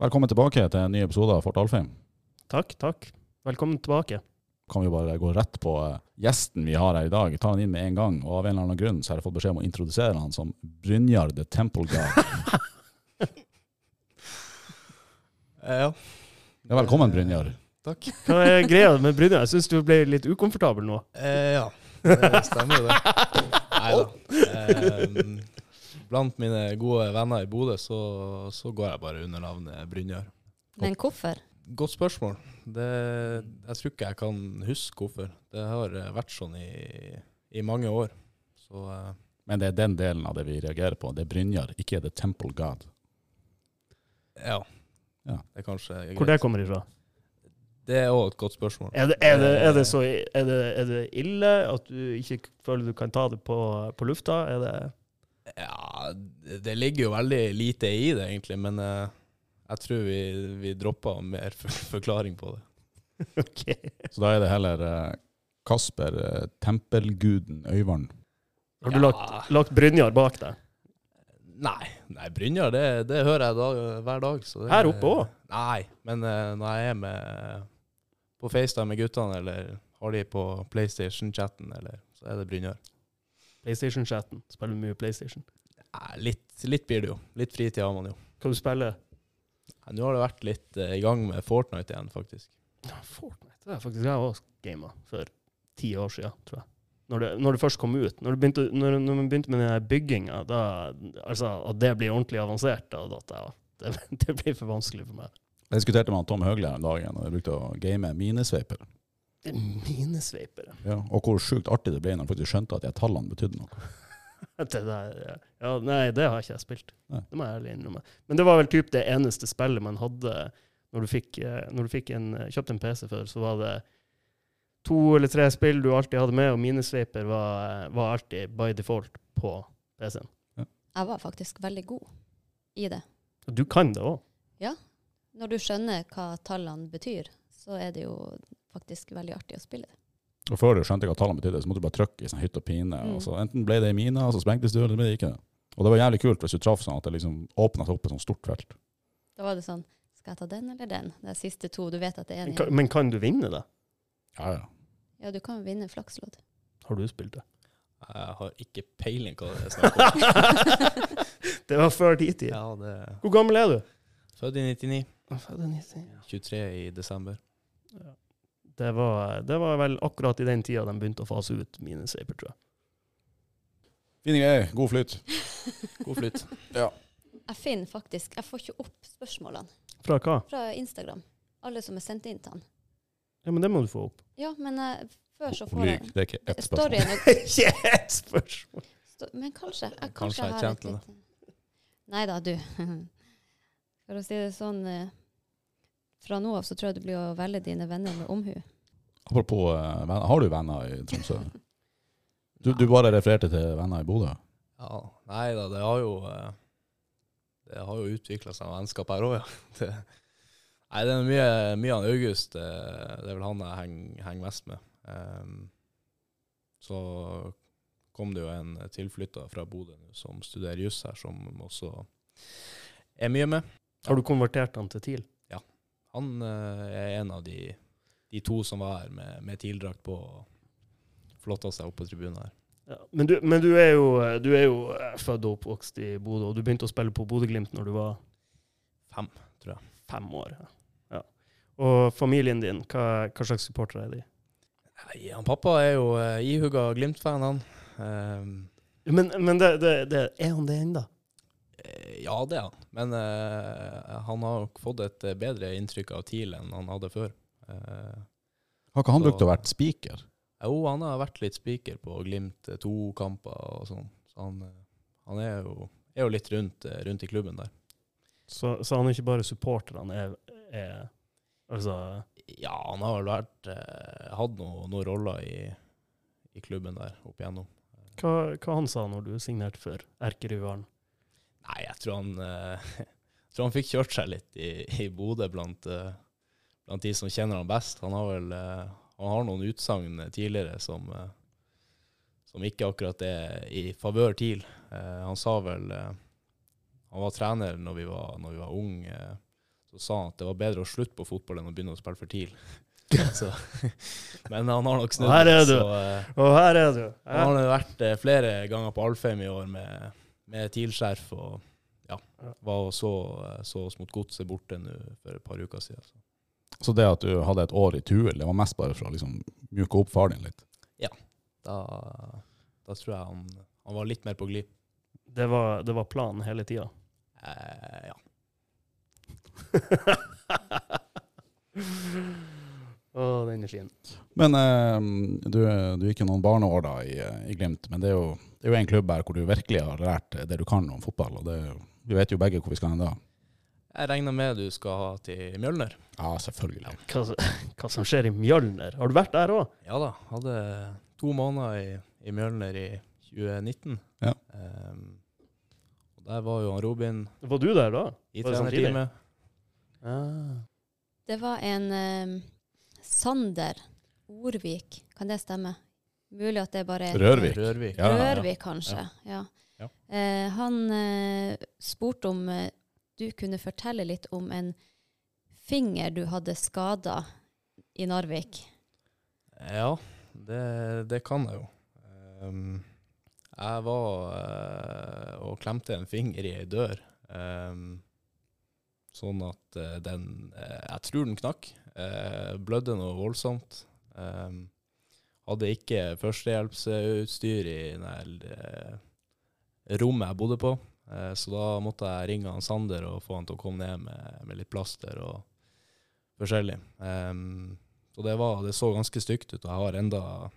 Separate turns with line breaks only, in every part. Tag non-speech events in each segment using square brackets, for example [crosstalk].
Velkommen tilbake til en ny episode av Fort Alfheim.
Takk, takk. Velkommen tilbake.
Kan vi bare gå rett på eh, gjesten vi har her i dag. Ta han inn med en gang. Og av en eller annen grunn så har jeg fått beskjed om å introdusere han som Brynjar the Temple Guy.
Eh, Ja,
Ja, velkommen, Brynjar.
takk.
Hva er greia med Brynjar? Jeg syns du ble litt ukomfortabel nå.
Eh, ja, det stemmer jo det.
[laughs]
Nei da. blant mine gode venner i Bodø så, så går jeg bare under navnet Brynjar.
Men hvorfor?
Godt spørsmål. Det, jeg tror ikke jeg kan huske hvorfor. Det har eh, vært sånn i, i mange år. Så eh,
Men det er den delen av det vi reagerer på. Det er Brynjar, ikke The Temple God.
ja.
Ja.
Det er kanskje
Hvor det kommer ifra?
Det er òg et godt spørsmål.
Er det, er det, er det, så, er det, er det ille at du ikke føler du kan ta det på, på lufta? Er det
Ja, det det ligger jo veldig lite i det, egentlig, men eh, jeg tror vi, vi dropper mer [laughs] forklaring på det.
OK.
Så da er det heller eh, Kasper, eh, tempelguden Øyvarn.
Har du
Ja.
lagt, lagt Brynjar bak deg?
Nei, nei Brynjar, det, det hører jeg dag, hver dag. Så det,
Her oppe òg?
Nei, men eh, når jeg er med på FaceTime med guttene, eller har de på PlayStation-chatten, eller så er det Brynjar.
PlayStation-chatten. Spiller mye PlayStation.
Nei, litt, litt blir det jo. Litt fritid har man jo.
Kan du spille
Nei, Nå har det vært litt eh, i gang med Fortnite igjen, faktisk.
Fortnite? Det er faktisk jeg òg gama for ti år siden, tror jeg. Når det, når det først kom ut. Når, det begynte, når, når man begynte med den bygginga, altså, og det blir ordentlig avansert, da, da, da, det, [laughs] det blir for vanskelig for meg.
Jeg diskuterte med han Tom Høgli her om dagen, og jeg brukte å game minesveiper.
Det er [laughs] minesveipere.
Ja. Og hvor sjukt artig det ble når han faktisk skjønte at de tallene betydde noe.
Det der, ja. ja, nei, det har ikke jeg spilt.
Nei.
Det må jeg ærlig innrømme. Men det var vel typ det eneste spillet man hadde når du fikk, eh, når du fikk en, kjøpte en PC før, så var det to eller tre spill du alltid hadde med, og minesveiper var, eh, var alltid by default på PC-en.
Jeg var faktisk veldig god i det.
Og Du kan det òg.
Når du skjønner hva tallene betyr, så er det jo faktisk veldig artig å spille det.
Og før du skjønte hva tallene betydde, så måtte du bare trykke i sånn hytt og pine.
Mm.
Og så enten ble det i mina, og så sprengtes du, eller så ble det ikke det. Og det var jævlig kult hvis du traff sånn at det liksom åpna seg opp et sånt stort felt.
Da var det sånn Skal jeg ta den eller den? Det er siste to. Du vet at det er en
Men kan-
igjen.
Men kan du vinne det?
Ja, ja.
Ja, du kan jo vinne flakslodd.
Har du spilt det?
Jeg har ikke peiling hva det er snakk om.
[laughs] Det var før din tid.
Ja, det er
Hvor gammel er du?
Født i 99.
Det
23 i desember.
var, det var vel akkurat i den tida de begynte å fase ut minesveiper, tror jeg.
Fine greier. God flyt.
God flytt.
[laughs] Jeg finner faktisk Jeg får ikke opp spørsmålene
Fra hva?
fra Instagram. Alle som er sendt inn til han.
Ja, men det må du få [laughs] opp.
Ja, men eh, før så får
Lyg.
jeg
Det er ikke ett spørsmål.
Storyen er
Ikke et spørsmål!
Sto- Men kanskje. Jeg,
Kanskje
kanskje
jeg
jeg har
tjente
et litt Nei da, du. [laughs] For å si det sånn, eh, fra nå av så tror jeg du blir å velge dine venner med omhu.
Apropos eh, venner. Har du venner i Tromsø? Du, du bare refererte til venner i Bodø.
Ja, nei da, det har jo eh, Det har jo utvikla seg vennskap her òg, ja. [laughs] Det, nei, det er mye, mye av August. eh, Det er vel han jeg henger heng mest med. Ehm, så kom det jo en tilflytter fra Bodø nå som studerer juss her, som også er mye med.
Har du konvertert han til TIL?
Han eh, er en av de, de to som var her med, med TIL-drakt på og flotta seg opp på tribunen her.
Ja. Men, du, men du er jo, du er jo eh, født og oppvokst i Bodø, og du begynte å spille på Bodø-Glimt når du var
Fem.
fem år. Ja. Ja. Og familien din, hva, hva slags supportere er de?
Nei, han pappa er jo eh, ihuga Glimt-fan, han. Ehm,
Men, men det, det, det, er han det ennå?
eh, ja, det er han. Men eh, han har nok fått et eh, bedre inntrykk av TIL enn han hadde før. Eh,
Har ikke han
Så-
brukt å vært spiker?
jo, han har vært litt spiker på Glimt eh, to-kamper og sånn. Så han, eh, han er, jo, er jo litt rundt, eh, rundt i klubben der.
Så, så han er ikke bare supporter, han er, er Altså
Ja, han har vel vært, eh, hatt noen noe roller i, i klubben der opp igjennom.
Hva, hva han sa når du signerte for erkerivalen?
Nei, jeg tror han, eh, [laughs] jeg tror han fikk kjørt seg litt i, i Bodø blant, eh, blant de som kjenner han best. Han har vel eh, han har noen utsagn tidligere som, eh, som ikke akkurat er i favør TIL. Eh, han sa vel eh, Han var trener når vi var, når vi var unge. Eh, så så sa han at det var bedre å slutte på fotball enn å begynne å spille for tidlig. [laughs] Så, men han har nok snudd.
Her er du.
Så, eh,
Og her er du.
han har jo vært eh, flere ganger på Alfheim i år med, med TIL-skjerf. og ja, var og så, eh, så oss mot godset borte nå for et par uker siden. Så.
Så det at du hadde et år i Tuel, det var mest bare for å liksom mjuke opp far din litt.
Da, da tror jeg han, han var litt mer på glid.
Det var, det var planen hele tida.
Eh, ja.
Å, den er fin.
Men eh, du, du gikk jo noen barneår da i, eh, i Glimt, men det er, jo, det er jo en klubb her hvor du virkelig har lært det du kan om fotball. og det, er jo- Vi vet jo begge hvor vi skal hen da.
Jeg regner med du skal ha til Mjølner.
Ja, selvfølgelig.
Hva, s- hva som skjer i Mjølner? Har du vært der òg?
Ja da, hadde to måneder i, i Mjølner i 2019.
Ja.
Ehm, og der var jo han Robin
Var du der da?
i
Var det samtidig?
trenerteamet.
Ah.
Det var en eh, Sander Orvik, kan det stemme? Mulig at det bare er
Rørvik.
Rørvik.
Ja, ja,
Rørvik, kanskje. Ja.
Ja.
Eh, han eh, spurte om eh, du kunne fortelle litt om en finger du hadde skada i Narvik.
Ja, det, det kan jeg jo. Ehm, jeg var eh, og klemte en finger i ei dør, ehm, sånn at eh, den eh, Jeg tror den knakk. eh, blødde noe voldsomt. Ehm, hadde ikke førstehjelpsutstyr i det her, eh, rommet jeg bodde på, eh, så da måtte jeg ringe han Sander og få han til å komme ned med, med litt plaster og forskjellig. Ehm, så det, var, det så ganske stygt ut, og jeg har enda,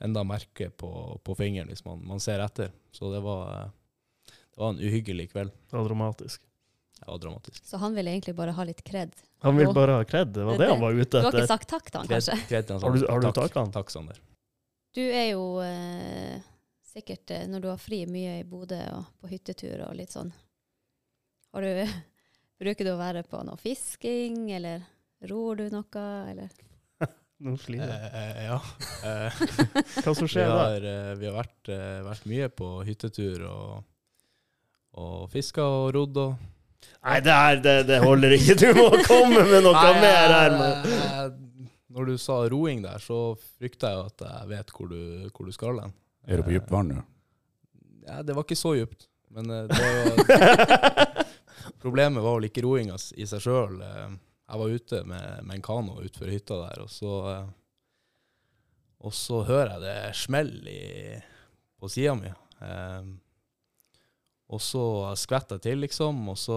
enda merke på, på fingeren hvis man, man ser etter. Så det var, det var en uhyggelig kveld.
Det var dramatisk.
Det var dramatisk.
Så han ville egentlig bare ha litt kred.
Han vil
Å.
bare ha kred. Det var det han var ute
Du har ikke
etter.
sagt takk til han, kanskje?
Kred til han,
Har du-
Sander.
har du
takk,
taket han?
Takk, Sander.
Du er jo eh, sikkert, eh, når du har fri, mye i Bodø og på hyttetur og litt sånn. Har du, [laughs] bruker du å være på noe fisking, eller ror du noe, eller?
Nå slirer jeg.
Eh,
[laughs]
ja. Eh,
Hva som
vi
skjer da?
har, eh, vi har vært, eh, vært mye på hyttetur og, og fiska og rodd og
Nei, det, er, det, det holder ikke. Du må komme med noe
Nei,
mer her.
jeg-
men-
jeg- Eh, Når du sa roing der, så frykter jeg jo at jeg vet hvor du, hvor du skal hen.
Er du på dypt vann nå?
Ja, det var ikke så djupt, men eh, det var, problemet var vel ikke roinga s- i seg sjøl. Jeg var ute med, med en kano utenfor hytta der, og så, eh, og så hører jeg det smell i, på sida mi. Og så skvetter jeg til, liksom, og så,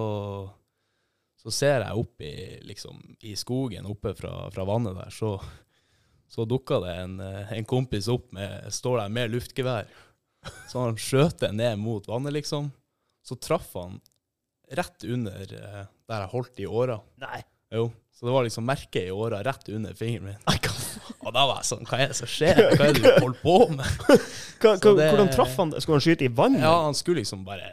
så ser jeg opp i, liksom, i skogen oppe fra, fra vannet der, så, så dukka det en, eh, en kompis opp med, står der med luftgevær. Så han skjøt det ned mot vannet, liksom. Så traff han rett under eh, der jeg holdt i åra.
Nei.
Jo. Så det var liksom merket i åra rett under fingeren min. Og da var jeg sånn Hva er det som skjer? Hva er det du holder på med?
Hva, hva,
Så det-
hvordan traff han? Skulle han skyte i vannet?
Ja, han skulle liksom bare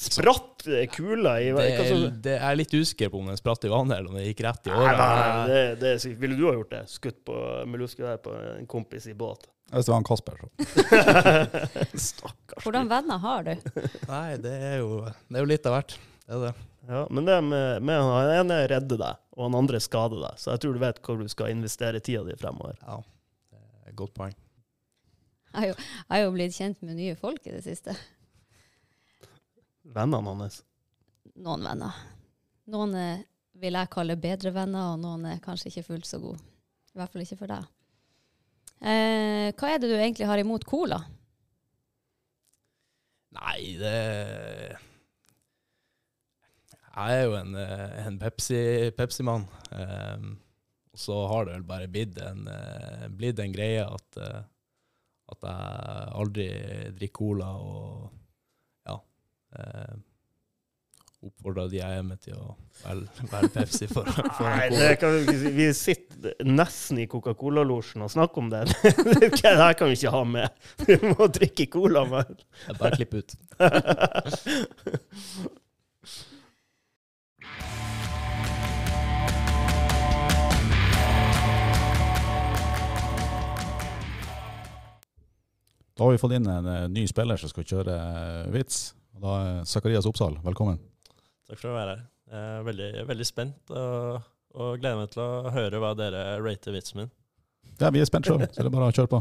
Spratt eh, kula i
Det
vannet? Hva
er,
som-
det er litt usikker på om den spratt i vannet, eller om den gikk rett i
Nei, nei,
åra.
det, det er sikkert. Ville du ha gjort det? Skutt på mollusket der på en kompis i båt?
Hvis det var han Kasper, så.
Stakkars.
Hvordan venner har du?
Nei, det er jo, det er jo litt av hvert. Det er det.
Ja, men det med, med han han ene redder deg, og han andre skader deg. Så jeg tror du vet hvor du skal investere tida di fremover.
Ja, det er et godt poeng.
Jeg har jo, jeg har jo blitt kjent med nye folk i det siste.
Vennene hans.
Noen venner. Noen eh, vil jeg kalle bedre venner, og noen er kanskje ikke fullt så gode. I hvert fall ikke for deg. Eh, hva er det du egentlig har imot cola?
Nei, det Jeg er jo en, eh, en Pepsi- Pepsi-mann. Ehm, og så har det vel bare blitt en, eh, blitt en greie at, eh, at jeg aldri drikker cola og ja eh, oppfordrer de jeg er med til å velge velge Pepsi for, for
Nei,
en cola.
det kan vi ikke si. Vi sitter nesten i Coca-Cola-losjen og snakker om det. [laughs] det her kan vi ikke ha med. Vi må drikke cola, mann.
Jeg Bare klipp ut.
Da har vi fått inn en eh, ny spiller som skal kjøre eh, vits. Og da er Zakarias Oppsal, velkommen.
Takk for å være her. Eh, veldig, veldig spent og, og gleder meg til å høre hva dere rater vitsen min.
Ja, vi er spent sjøl, så det er bare å kjøre på.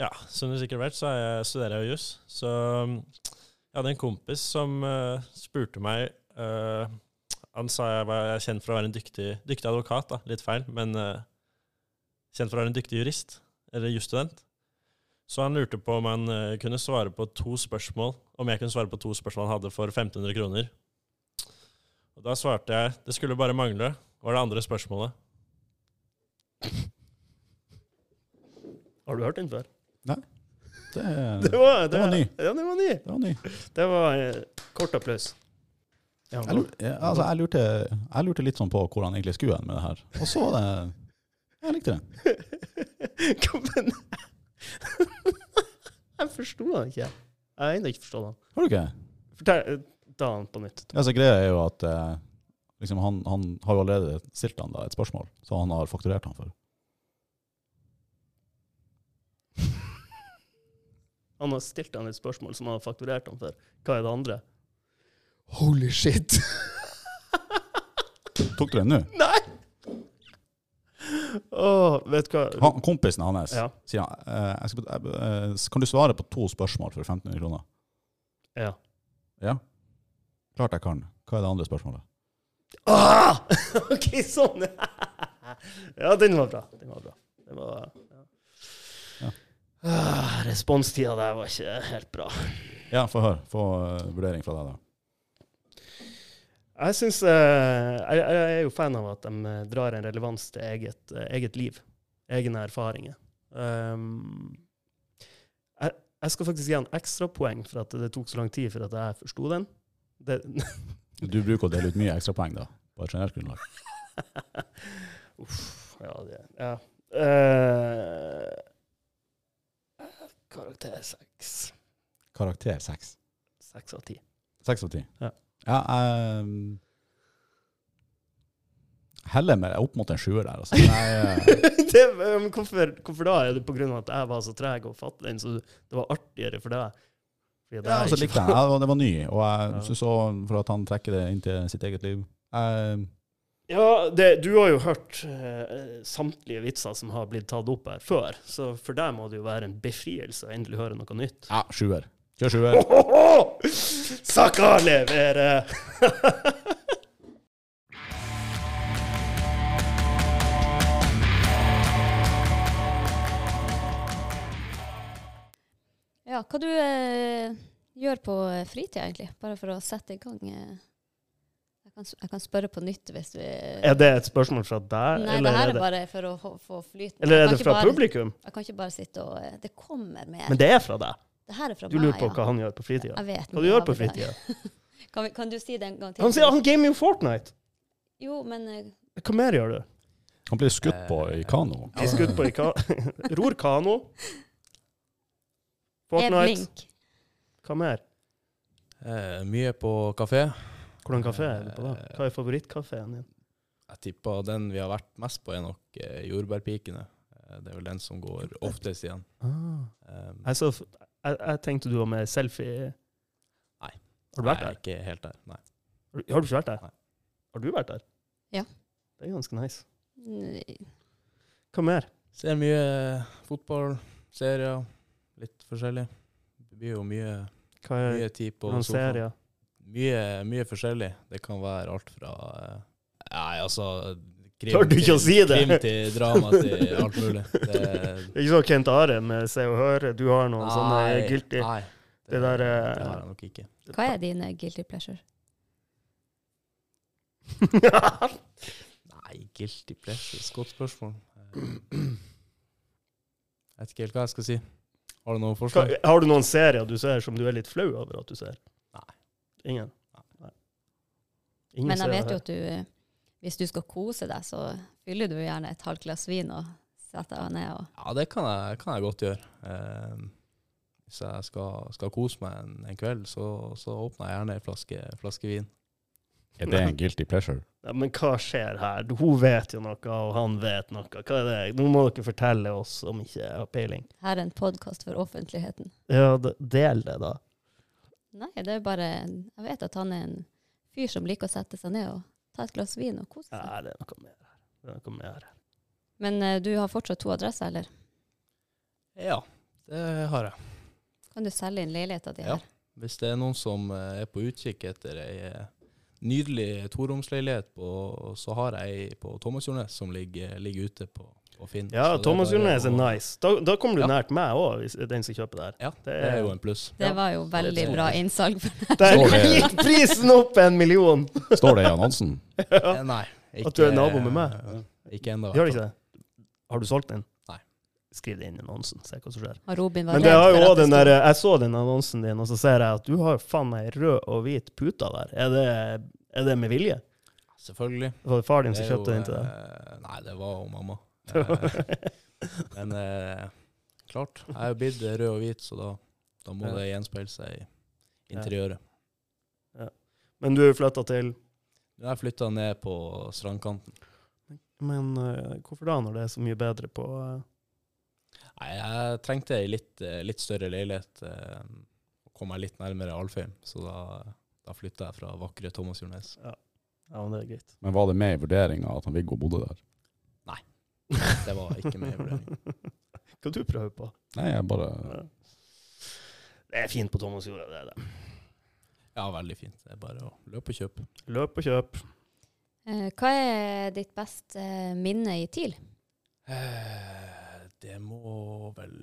Ja, som du sikkert vet, så er jeg, studerer jeg jo juss. Så mm, jeg hadde en kompis som eh, spurte meg eh, Han sa jeg var kjent for å være en dyktig, dyktig advokat, da. Litt feil, men eh, kjent for å være en dyktig jurist. Eller jusstudent. Så han lurte på om han eh, kunne svare på to spørsmål. Om jeg kunne svare på to spørsmål han hadde for 1500 kroner. Og da svarte jeg det skulle bare mangle, var det andre spørsmålet.
Har du hørt den før?
[laughs] Det,
Det var,
det var ny.
Ja, det var ny.
det var ny.
Det var eh, kort applaus. Ja,
Jeg,
[laughs]
lur, jeg, altså, jeg, lurte, jeg lurte litt sånn på hvor han egentlig skulle hen med det her. Og så det, Jeg likte det.
Hva men- [laughs] Jeg forsto han ikke. Jeg har ennå ikke forstått han.
Har du ikke?
Fortell, eh, ta han på nytt.
Ja, så Altså, Greia er jo at eh, liksom, han, han har jo allerede stilt han da et spørsmål, så han har fakturert han for.
Han har stilt han et spørsmål som han har fakturert han for. Hva er det andre? Holy shit!
Tok du den nå?
Nei! Åh, vet du hva?
Han- Kompisen hans
Ja.
sier han, eh, jeg skal, jeg, eh, Kan du svare på to spørsmål for 1500 kroner?
Ja.
Ja. Klart jeg kan. Hva er det andre spørsmålet?
Ah! [laughs] OK, sånn! ja, den var bra. Den var bra. Den var, ja.
Ja.
Ah, responstida der var ikke helt bra.
Ja, få høre. Få eh, vurdering fra deg, da.
Jeg synes, eh, jeg, jeg er jo fan av at de eh, drar en relevans til eget, eh, eget liv. Egne erfaringer. Ehm, jeg, jeg skal faktisk gi en ekstrapoeng for at det tok så lang tid for at jeg forsto den. Det, [laughs]
Du bruker å dele ut mye ekstrapoeng, da. På et generelt grunnlag.
Uff, ja, det ja. Eh, Karakter seks.
Karakter seks.
Seks av ti.
Seks av ti.
Ja.
Ja, jeg um, Heller meg opp mot en sjuer der, altså. Jeg, eh,
[laughs] det, men hvorfor, hvorfor da? Er det pga. at jeg var så treg og fatt den, så det var artigere for deg? Fordi at
ja,
jeg
altså,
ikke
likte jeg. Jeg- Det var ny, og jeg syns òg, for at han trekker det inn til sitt eget liv jeg,
Ja, det, du har jo hørt eh, samtlige vitser som har blitt tatt opp her før, så for deg må det jo være en befrielse å endelig høre noe nytt. [laughs]
Ja, sjuer. Kjør sjuer.
Ohoho! Sakka leverer!
Ja, hva du eh, gjør på eh, fritida, egentlig? Bare for å sette i gang. Eh. Jeg, kan, s- jeg kan spørre på nytt hvis vi
[laughs] Er det et spørsmål fra deg?
Nei, det
eller,
her
er
er
det,
bare for å få- få flyt.
eller
Jeg
er
kan
det
ikke
fra
bare-
publikum?
Jeg kan ikke bare sitte og eh, Det kommer mer.
Men det er fra deg.
det her er fra
Du
meg,
lurer på
ja.
hva han gjør på fritida.
Jeg vet
Hva
men
du
jeg
gjør
har
på
vel-
fritida?
Kan, vi- kan du si det en gang til?
Han sier han gamer jo Fortnite!
Jo, men eh,
Hva mer gjør du?
Han blir skutt på i kano.
Eh, Blir skutt på i [laughs] ka Ror kano.
er
Fortnite.
e- blink.
Hva mer?
Eh, mye på kafé.
Hvordan kafé er du på da? Hva er favorittkafeen din?
Jeg tipper den vi har vært mest på, er nok eh, Jordbærpikene. Eh, det er vel den som går oftest igjen.
Ah.
Um,
Jeg, så, f- jeg, jeg tenkte du var med selfie...
Nei.
Har du vært
jeg
der?
er ikke helt der, nei.
Har du- Har du ikke vært der?
Nei.
Har du vært der?
Ja.
Det er ganske nice.
N-
Hva mer?
Ser mye eh, fotball, serier, litt forskjellig. Det blir jo mye,
Hva er
mye tid på
noen
sofaen.
serier?
Mye, mye forskjellig. Det kan være alt fra eh, Nei, altså krim
Tør du ikke
til-
å si det?
Krim til drama til alt mulig.
[laughs]
Det,
Ikke så Kent Are med Se og Høre. Du har noen sånne
Nei,
guilty
Nei,
Det der, eh,
det har jeg nok ikke.
Hva er dine guilty pleasure?
[laughs]
Nei, guilty pleasures. Godt spørsmål. Eh, Jeg vet ikke helt hva jeg skal si. Har du noe
Hva,
forslag?
har du noen serier du ser som du er litt flau over at du ser?
Nei.
Ingen? Nei. Ingen
Men jeg
serier
vet jo
her.
at du eh, Hvis du skal kose deg, så fyller du gjerne et halvt glass vin og setter deg ned og
Ja, det kan jeg, kan jeg godt gjøre. Eh, hvis jeg skal, skal kose meg en, en kveld, så, så åpner jeg gjerne en flaske, flaske vin.
Er det en guilty pleasure?
ja, Men hva skjer her? Du- Hun vet jo noe, og han vet noe. Hva er det? Nå må dere fortelle oss om ikke jeg har peiling.
Her er en podkast for offentligheten.
Ja, d- del det, da.
Nei, det er bare Jeg vet at han er en fyr fyr som liker å sette seg ned og ta et glass vin og kose seg.
Nei, det er noe mer her. Det er noe mer her.
Men eh, du har fortsatt to adresser, eller?
Ja, det har jeg.
Kan du selge inn leiligheten din
Ja.
her?
Hvis det er noen som eh, er på utkikk etter ei eh, nydelig toromsleilighet, på- så har jeg ei på Thomasjordnes som ligger, ligger ute på, på Finn.
Ja,
Så det er
Thomas
bare
Jordnes er
å-
nice. Da, da kommer du
Ja.
nært meg òg, hvis den som kjøper det her.
Ja,
Det
det
er-
er jo en pluss.
Det
Ja.
var jo veldig
det-
bra innsalg. for-
[laughs] Der
Så det-
gikk prisen opp en million!
Står det i annonsen?
Eh, Nei.
At du er nabo med meg.
Ikke ennå.
Gjør det ikke det? Har du solgt den?
Nei.
Skriv det inn i annonsen, se hva som skjer.
Og Robin var
Men det har jo
redd for at
også den
sto-
der, jeg så den annonsen din, og så ser jeg at du har faen meg rød og hvit pute der. Er det, er det med vilje?
Selvfølgelig.
Det var far din som
Det er
kjøpte
jo,
den til deg.
eh, Nei, det var jo
[laughs]
mamma. Eh, Men eh, klart, jeg er jo blitt rød og hvit, så da, da må
Ja.
det gjenspeile seg i
Ja.
interiøret.
[laughs] Men du flytta til
Nå har jeg flytta ned på strandkanten.
Men eh, hvorfor da, når det er så mye bedre på eh,
Nei, jeg trengte ei litt, eh, litt større leilighet. eh, og Kom meg litt nærmere Alfheim, så da, da flytta jeg fra vakre Thomas Jordnes.
Ja, men det er greit.
Men var det med i vurderinga at han Viggo bodde der?
[laughs] Det var ikke med i vurderingen.
[laughs] Hva du prøver på?
Nei, jeg bare
Ja. Det er fint på Thomas Jorda, det er det.
Ja, veldig fint. Det er bare å løpe og kjøpe.
Løp og kjøp.
Eh, Hva er ditt beste eh, minne i TIL?
Eh, Det må vel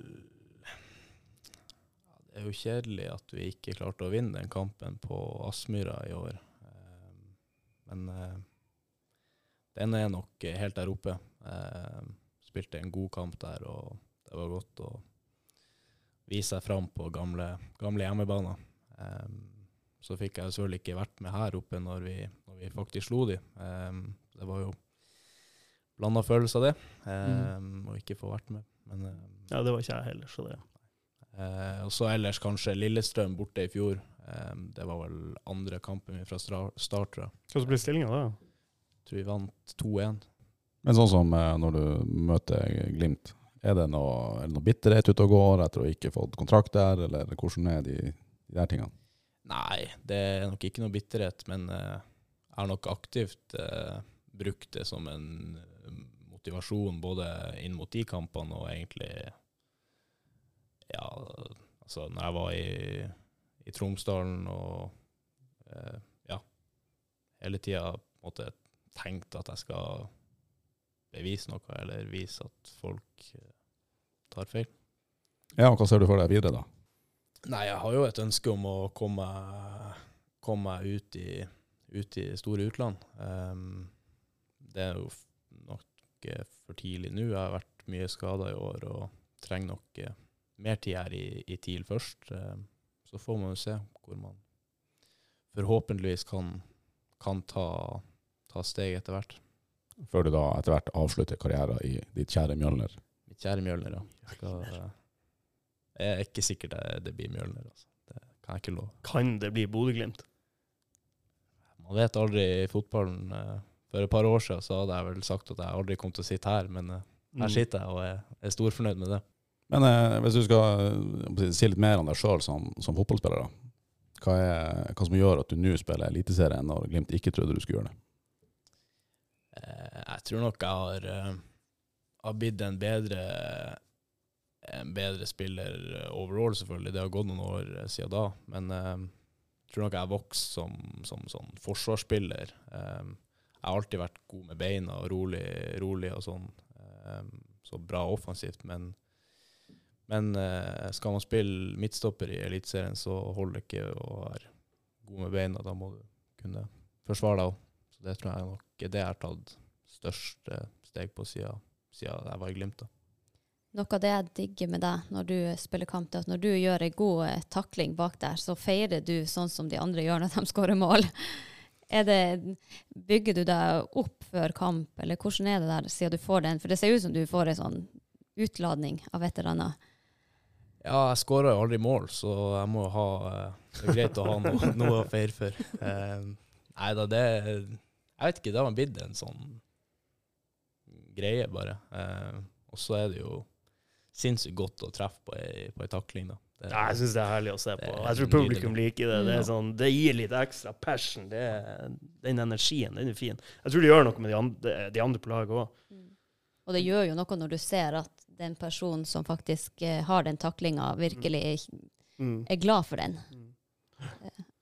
Ja, Det er jo kjedelig at vi ikke klarte å vinne den kampen på Aspmyra i år. Eh, Men eh, den er nok eh, helt der oppe. Eh, Spilte en god kamp der, og det var godt å vise seg fram på gamle, gamle hjemmebaner. Eh, Så fikk jeg selvfølgelig ikke vært med her oppe når vi, når vi faktisk slo de. Eh, Det var jo blanda følelse av det. Um, og ikke få vært med. Men, eh,
Ja, det var ikke jeg heller, så det
eh, og så ellers kanskje Lillestrøm borte i fjor. Eh, det var vel andre kampen min fra stra- start, tror jeg.
Hva blir stillinga da?
Tror vi vant 2-1.
Men sånn som eh, når du møter Glimt, er det noe, er det noe bitterhet ute og går etter å ikke ha fått kontrakt der, eller hvordan er de, de der tingene?
Nei, det er nok ikke noe bitterhet, men eh, jeg har nok aktivt eh, brukt det som en eh, motivasjon både inn mot de kampene og egentlig Ja, altså når jeg var i, i Tromsdalen og eh, ja, hele tida på en måte tenkt at jeg skal bevise noe, eller vise at folk eh, tar feil.
Ja, og hva ser du for deg videre, da?
Nei, jeg har jo et ønske om å komme, komme meg ut i, ut i store utland. Ehm, det er jo f- nok eh, for tidlig nå. Jeg har vært mye skada i år og trenger nok eh, mer tid her i, i TIL først. Ehm, så får man jo se hvor man forhåpentligvis kan, kan ta, ta steg etter hvert.
Før du da etter hvert avslutter karrieren i ditt kjære Mjølner?
Mitt kjære Mjølner, ja. Skal, eh, jeg er ikke sikker det, det blir Mjølner. Altså. Det kan jeg ikke love.
Kan det bli Bodø-Glimt?
Man vet aldri i fotballen. eh, For et par år siden så hadde jeg vel sagt at jeg aldri kom til å sitte her, men eh,
Mm.
her sitter jeg og er, er storfornøyd med det.
Men eh, hvis du skal eh, si litt mer om deg sjøl som, som fotballspiller, da. Hva, er, hva som gjør at du nå spiller Eliteserien når Glimt ikke trodde du skulle gjøre det?
Eh, Jeg tror nok jeg har, eh, har blitt en bedre, en bedre spiller eh, overall, selvfølgelig. Det har gått noen år eh, siden da. Men eh, jeg tror nok jeg har vokst som, som sånn forsvarsspiller. Eh, Jeg har alltid vært god med beina og rolig, rolig og sånn. Eh, Så bra offensivt, men men eh, skal man spille midtstopper i Eliteserien, så holder det ikke å være god med beina. Da må du kunne forsvare deg òg. Så det tror jeg nok er det jeg har tatt største steg på siden, siden jeg var i Glimt. da.
Noe av det jeg digger med deg når du spiller kamp, det er at når du gjør ei god eh, takling bak der, så feirer du sånn som de andre gjør når de [laughs] skårer mål. Er det, bygger du deg opp før kamp, eller hvordan er det der siden du får den? For det ser ut som du får ei sånn utladning av et eller annet.
Ja, jeg skåra jo aldri mål, så jeg må jo ha eh, Det er greit å ha [laughs] noe, noe å feire for. Eh, Nei da, det Jeg vet ikke, det har blitt en sånn greie, bare. Eh, Og så er det jo sinnssykt godt å treffe på ei, på ei takling. da. Det-
Ja, jeg syns det er herlig å se på.
Det er
Jeg tror publikum liker det. Det, er
Ja.
sånn, det gir litt ekstra passion. Det, er- den energien, den er fin. Jeg tror det gjør noe med de andre, de andre på laget òg.
Mm. Og det gjør jo noe når du ser at den personen som faktisk eh, har den taklinga, virkelig er-
Mm.
er glad for den.
Mm.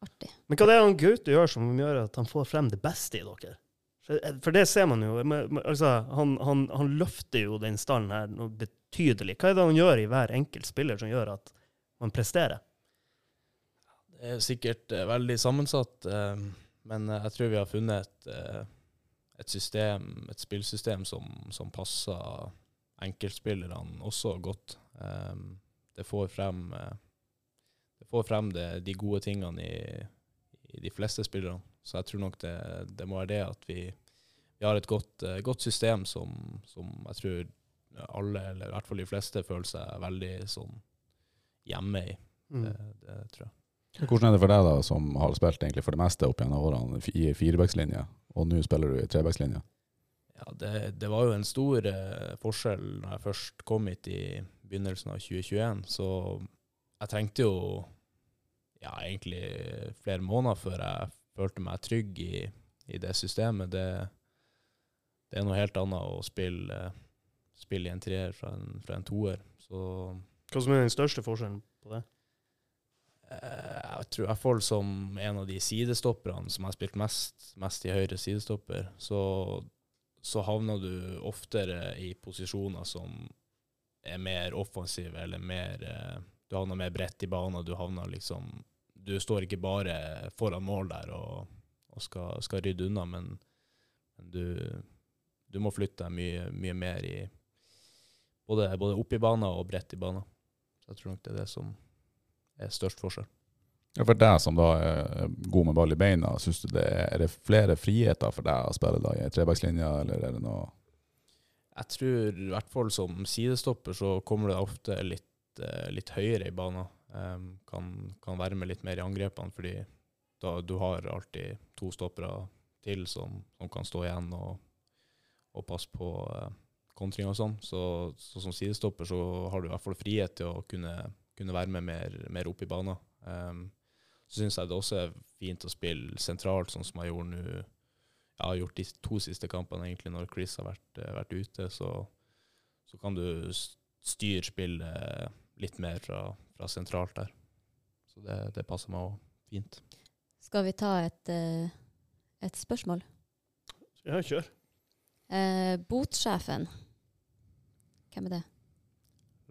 Artig.
Men hva det er han Gaute gjør som gjør at han får frem det beste i dere? For- For det ser man jo. men- men Altså, han, han, han løfter jo den stallen her noe betydelig. Hva er det han gjør i hver enkelt spiller som gjør at man presterer?
Det er sikkert eh, veldig sammensatt, eh, men eh, jeg tror vi har funnet et, eh, et system, et spillsystem som, som passer enkeltspillerne også godt. Eh, det får frem, eh, det får frem det, de gode tingene i, i de fleste spillerne. Så jeg tror nok det, det må være det at vi, vi har et godt, eh, godt system som, som jeg tror alle, eller i hvert fall de fleste, føler seg veldig sånn hjemme i.
Mm.
Det,
Eh,
det tror jeg.
Hvordan er det for deg, da, som har spilt egentlig for det meste opp gjennom årene f- i firebackslinje, og nå spiller du i trebackslinje?
Ja, det, det var jo en stor eh, forskjell når jeg først kom hit i begynnelsen av 2021. Så jeg trengte jo ja, egentlig flere måneder før jeg følte meg trygg i, i det systemet. Det, det er noe helt annet å spille, eh, spille i en treer fra en, fra en toer. Så
Hva som er den største forskjellen på det?
Eh, Jeg tror i hvert fall som en av de sidestopperne som har spilt mest, mest i høyre sidestopper, så, så havner du oftere i posisjoner som er mer offensive, eller mer eh, Du havner mer bredt i banen, du havner liksom Du står ikke bare foran mål der og, og skal, skal rydde unna, men, men du, du må flytte deg mye, mye mer i både, både opp i banen og bredt i banen. Så jeg tror nok det er det som er størst forskjell.
Ja, for deg som da er god med ball i beina, synes du det er, er det flere friheter for deg å spille da i trebackslinja, eller er det noe
Jeg tror i hvert fall som sidestopper så kommer du deg ofte litt, eh, litt høyere i banen. Em, kan, kan være med litt mer i angrepene, fordi da, du har alltid to stoppere til som, som kan stå igjen og, og passe på eh, kontring og sånn. Så, så som sidestopper så har du i hvert fall frihet til å kunne, kunne være med mer, mer opp i banen. Em, så syns jeg det også er fint å spille sentralt, sånn som jeg gjorde nå jeg har gjort de to siste kampene egentlig når Chris har vært, eh, vært ute, så, så kan du s- styre spillet litt mer fra, fra sentralt der. Så det, det passer meg òg fint.
Skal vi ta et, eh, et spørsmål?
Ja, kjør.
Eh, botsjefen. Hvem er det?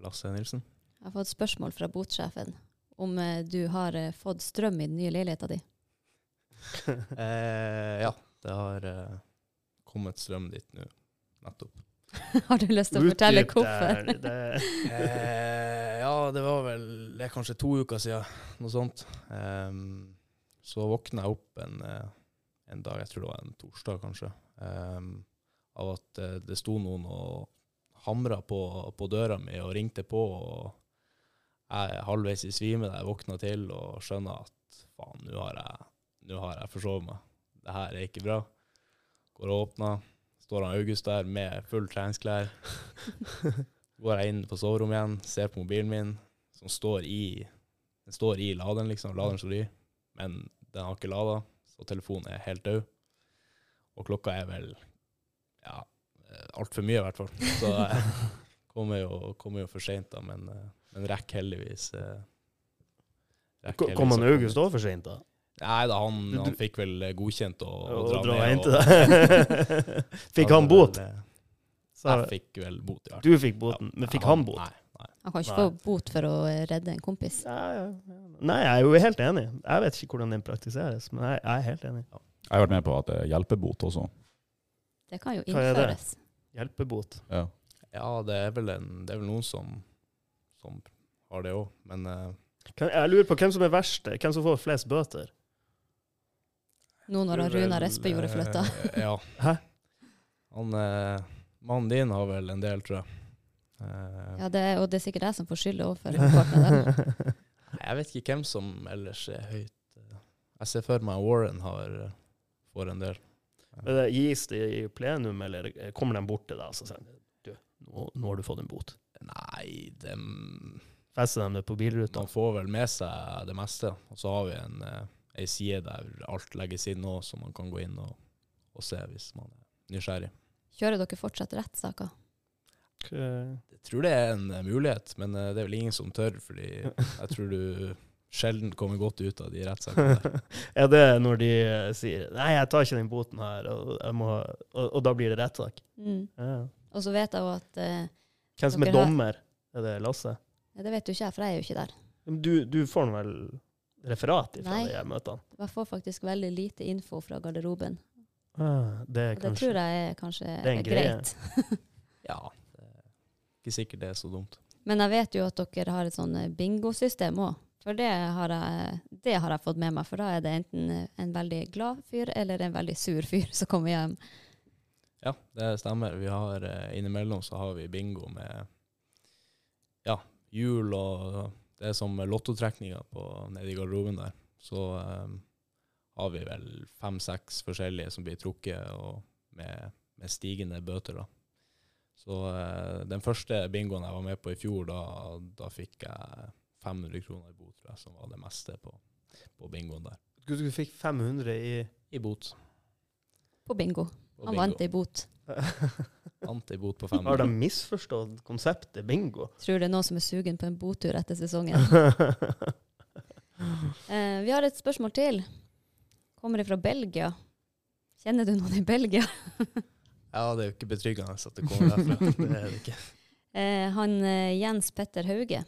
Lasse Nilsen?
Jeg har fått spørsmål fra botsjefen om eh, du har eh, fått strøm i den nye leiligheta di.
Eh, ja, det har eh, kommet strøm dit nå, nettopp.
[laughs] har du lyst til å fortelle
Utdyp
hvorfor?
der,
[laughs]
det-
Eh, ja, det var vel det er kanskje to uker siden, noe sånt. Ehm, så våkna jeg opp en, eh, en dag, jeg tror det var en torsdag kanskje, ehm, av at eh, det sto noen og hamra på, på døra mi og ringte på. og Jeg er halvveis i svime da jeg våkna til og skjønner at faen, nå har jeg, nå har jeg forsovet meg. Det her er ikke bra. Går og åpner. Står han August der med full treningsklær går jeg inn på soverommet igjen, ser på mobilen min, som står i, den står i laderen, liksom. Laderen står i, men den har ikke lada, så telefonen er helt død. Og klokka er vel ja, eh, altfor mye, i hvert fall. Så jeg kommer jo, kommer jo for seint, da, men, eh, men rekker heldigvis eh,
Ko-
rekker
Kom han
heldigvis å komme.
August òg for seint, da?
Nei da, han,
Du-
han fikk vel eh, godkjent å, å
Og
dra,
dra og
ned.
hente deg? [laughs] Fikk han bot?
vel, eh,
Sa-
Jeg fikk vel bot, i hvert fall.
Du fikk boten, men fikk han bot?
Nei, nei.
Han kan ikke
Nei.
få bot for å eh, redde en kompis.
Ja, ja, ja. Nei, jeg er jo helt enig. Jeg vet ikke hvordan den praktiseres, men jeg, jeg er helt enig.
Jeg har vært med på at det er hjelpebot også.
Det kan jo
Hva er det?
innføres.
Hjelpebot.
Ja.
Ja, det er vel, en, det er vel noen som, som har det òg, men eh,
Kan, jeg lurer på hvem som er verst, hvem som får flest [laughs] bøter.
Nå når han
tror vel,
Runar Espe gjorde flytta.
eh, [laughs] Ja.
Hæ?
Han, eh, mannen din har vel en del, tror jeg. Eh,
Ja, det, og det er sikkert jeg som får skylda
[laughs]
overfor partneren. der.
Jeg vet ikke hvem som ellers er høyt. eh. Jeg ser for meg Warren har, eh, får en del.
Men det Gis det i plenum, eller eh, kommer de bort til deg og så sier de, du, nå, nå har du fått en bot?
Nei, det, man
Fester dem det på bilruta.
får vel med seg det meste. Og så har vi en, eh, ei side der alt legges inn òg, så man kan gå inn og, og se hvis man er nysgjerrig.
Kjører dere fortsatt rettssaker?
Jeg tror det er en eh, mulighet, men eh, det er vel ingen som tør, fordi jeg tror du sjelden kommer godt ut av de rettssakene. der.
er det når de eh, sier 'nei, jeg tar ikke den boten her', og, jeg må, og, og da blir det rettssak?
Mm.
Ja.
Og så vet jeg jo at eh,
Hvem som er
Dere har-
dommer? Er det Lasse?
Det vet jo ikke jeg, for jeg er jo ikke der.
Men Du, du får vel referat ifra
Nei.
de her møtene?
Jeg får faktisk veldig lite info fra garderoben.
Ah, det er
Og det
kanskje
tror jeg er kanskje
er en
er
greie.
greit.
Ja, det er ikke sikkert det er så dumt.
Men jeg vet jo at dere har et sånn eh, bingosystem òg. For det har, jeg, det har jeg fått med meg, for da er det enten eh, en veldig glad fyr eller en veldig sur fyr som kommer hjem.
Ja, det stemmer. Vi har eh, innimellom så har vi bingo med ja, jul og det er som lottotrekninger på- nede i garderoben der. Så eh, har vi vel fem-seks forskjellige som blir trukket og med, med stigende bøter, da. Så eh, den første bingoen jeg var med på i fjor, da, da fikk jeg 500 kroner i bot, tror jeg, som var det meste på, på bingoen der.
Du, du fikk 500 i
[laughs] I bot.
På bingo.
På
Han
bingo.
vant ei bot.
Vant ei bot på
Har de
500.
misforstått konseptet bingo?
Tror det er noen som er sugen på en botur
[laughs]
etter sesongen.
[laughs]
Eh, vi har et spørsmål til. Kommer fra Belgia. Kjenner du noen i Belgia? [laughs]
Ja, det er jo ikke betryggende at det kommer derfra. Det er det ikke.
Eh, han eh, Jens Petter Hauge.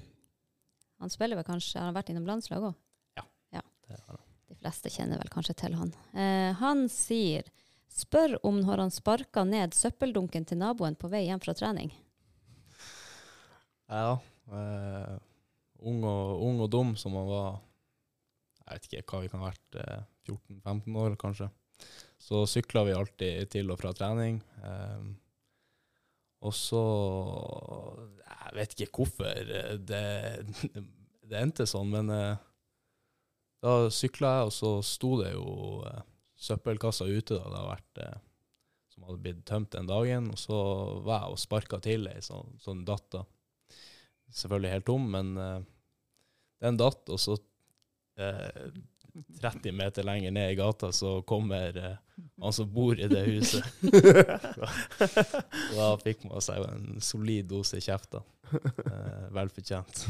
Han spiller vel kanskje, han har vært innom landslaget òg?
Det er det.
De fleste kjenner vel kanskje til han. Eh, han sier Spør om når han sparka ned søppeldunken til naboen på vei hjem fra trening.
Ja. Eh, ung, og, ung og dum som han var Jeg vet ikke hva vi kan ha vært. Eh, 14-15 år, kanskje. Så sykla vi alltid til og fra trening. Eh, og så Jeg vet ikke hvorfor eh, det, [laughs] det endte sånn, men eh, da sykla jeg, og så sto det jo eh, søppelkassa ute. da, Det hadde vært eh, som hadde blitt tømt den dagen. Og så var jeg og sparka til ei sånn, sånn datt, da selvfølgelig helt tom, men eh, den datt, og så eh, 30 meter lenger ned i gata så kommer eh, han som bor i det huset. Og da fikk man seg jo en solid dose i kjefta. Eh, velfortjent.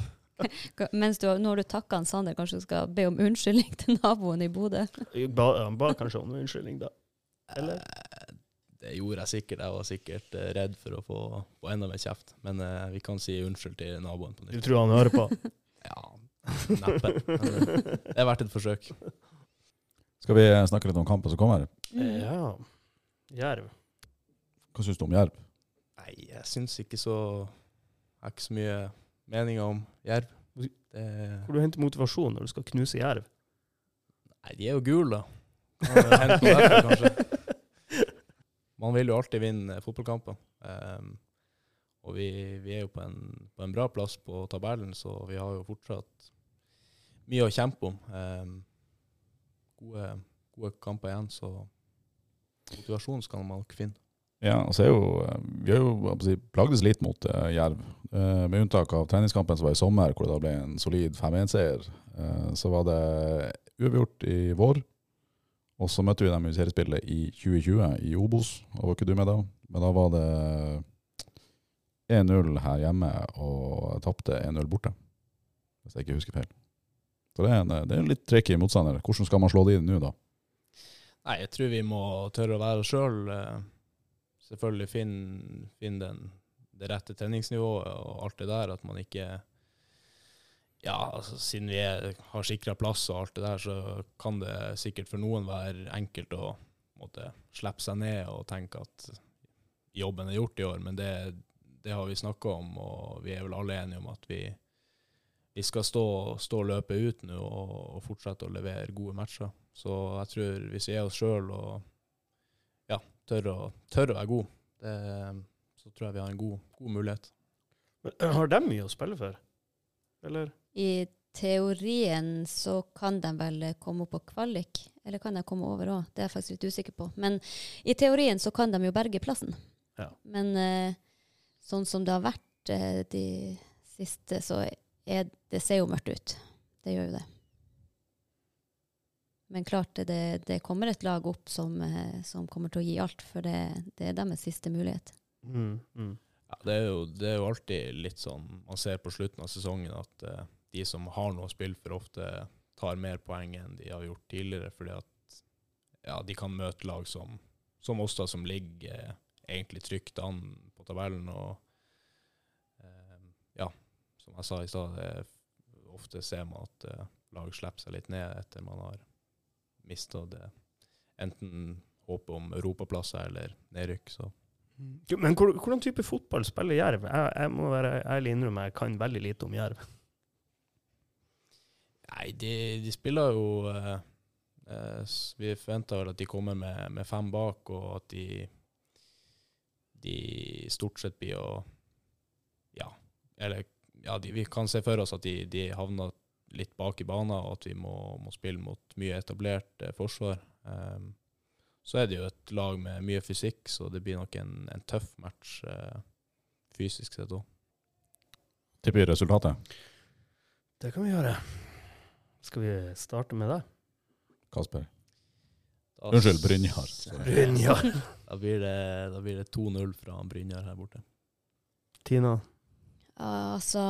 Ka- Mens du, når du takker han Sander, kanskje du skal be om unnskyldning til naboen i Bodø?
ba, han ba kanskje om unnskyldning, da. Eller?
Eh, det gjorde jeg sikkert. Jeg var sikkert eh, redd for å få, få enda mer kjeft. Men eh, vi kan si unnskyld til naboen på
Du
nytt.
tror han hører på?
[laughs] Ja, neppe. Men eh, det er verdt et forsøk.
Skal vi snakke litt om kampen som kommer?
[laughs] Mm.
Eh, ja. Jerv.
Hva syns du om Jerv?
Nei, jeg syns ikke så Jeg har ikke så mye meninger om jerv. Det,
Hvor du henter motivasjon når du skal knuse jerv?
nei, de er jo gule, da. Kan det hende noe derfor, kanskje? Man vil jo alltid vinne fotballkamper. Ehm, og vi, vi er jo på en, på en bra plass på tabellen, så vi har jo fortsatt mye å kjempe om. Ehm, gode, gode kamper igjen, så motivasjon skal man nok finne.
Ja, altså er jo, eh, Vi har jo hva skal jeg si, plagdes litt mot eh, Jerv. Eh, med unntak av treningskampen som var i sommer, hvor det da ble en solid 5-1-seier. Eh, så var det uavgjort i vår. Og så møtte vi dem i seriespillet i 2020 i Obos. Da var ikke du med da. Men da var det 1-0 her hjemme og tapte 1-0 borte. Hvis jeg ikke husker feil. Så det er en, eh, det er en litt tricky motstander. Hvordan skal man slå de nå, da?
Nei, jeg tror vi må tørre å være oss sjøl. Selvfølgelig finne finn den- det rette treningsnivået og alt det der. At man ikke Ja, altså, siden vi er, har sikra plass og alt det der, så kan det sikkert for noen være enkelt å måtte slippe seg ned og tenke at jobben er gjort i år. Men det, det har vi snakka om, og vi er vel alle enige om at vi, vi skal stå, stå og løpe ut nå og, og fortsette å levere gode matcher. Så jeg tror hvis vi er oss sjøl og ja, tør å, tør å være god, det, så tror jeg vi har en god, god mulighet.
[laughs] Men eh, har de mye å spille for? Eller?
I teorien så kan de vel eh, komme opp på kvalik, eller kan de komme over òg? Det er jeg faktisk litt usikker på. Men i teorien så kan de jo berge plassen.
Ja.
Men eh, sånn som det har vært gjort eh, de siste, så er, det ser jo mørkt ut. Det gjør jo det. Men klart, det- det, det kommer et lag opp som, eh, som kommer til å gi alt, for det, det er deres siste mulighet.
Mm, mm.
Ja, det, er jo, det er jo alltid litt sånn man ser på slutten av sesongen, at eh, de som har noe spill for ofte, tar mer poeng enn de har gjort tidligere, fordi at ja, de kan møte lag som, som oss, da, som ligger eh, egentlig trygt an på tabellen. Og eh, ja, som jeg sa i stad, det er- ofte ser man at eh, lag slipper seg litt ned etter man har mista det. Enten håpet om europaplasser eller nedrykk, så
Jo, Men hvor, hvordan type fotball spiller Jerv? Jeg, jeg må være ærlig innrømme, jeg kan veldig lite om Jerv.
Nei, de, de spiller jo eh, eh, s- Vi forventer vel at de kommer med, med fem bak, og at de de stort sett blir å Ja, eller ja, de, vi kan se for oss at de, de havner litt bak i banen, og at vi må, må spille mot mye etablert eh, forsvar. Ehm, så er det jo et lag med mye fysikk, så det blir nok en, en tøff match eh, fysisk sett òg.
Tipper vi resultatet.
Det kan vi gjøre. Skal vi starte med det?
Kasper. Unnskyld, Brynjar.
Brynjar.
Da blir det, da blir det 2-0 fra Brynjar her borte.
[laughs] Tina.
Ja, Altså,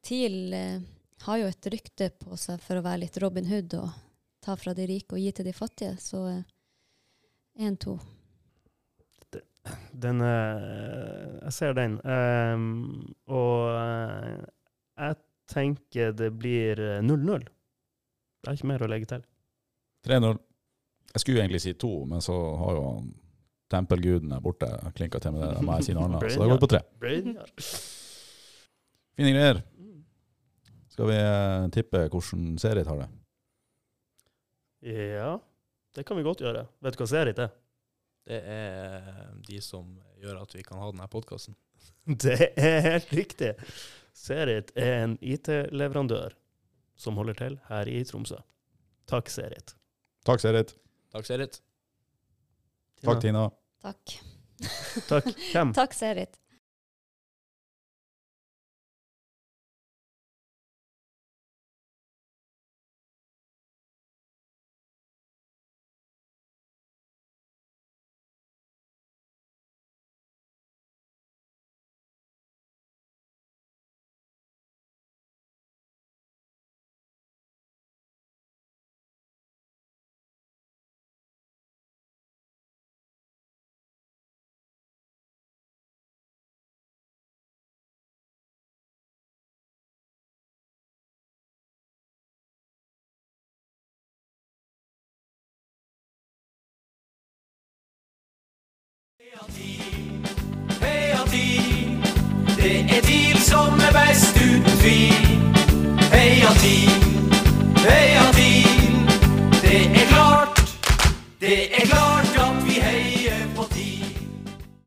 TIL eh, har jo et rykte på seg for å være litt Robin Hood og ta fra de rike og gi til de fattige, så eh, 1-2.
Den eh, Jeg ser den. Ehm, og eh, jeg tenker det blir eh, 0-0. Det er ikke mer å legge til.
3-0. Jeg skulle egentlig si to, men så har jo han tempelguden her borte klinka til med det. Da må jeg si noe annet. Så da går vi på tre.
Brynjar.
Fine greier. Skal vi eh, tippe hvordan serie tar det?
[laughs] Ja, det kan vi godt gjøre. Vet du hva serie det er?
Det er eh, de som gjør at vi kan ha denne podkasten.
Det er helt riktig. Serit er en IT-leverandør som holder til her i Tromsø. Takk, Serit.
Takk, Serit.
Takk, Serit.
Takk, Tina.
Takk.
Takk. Hvem?
Takk, Serit.
Alltid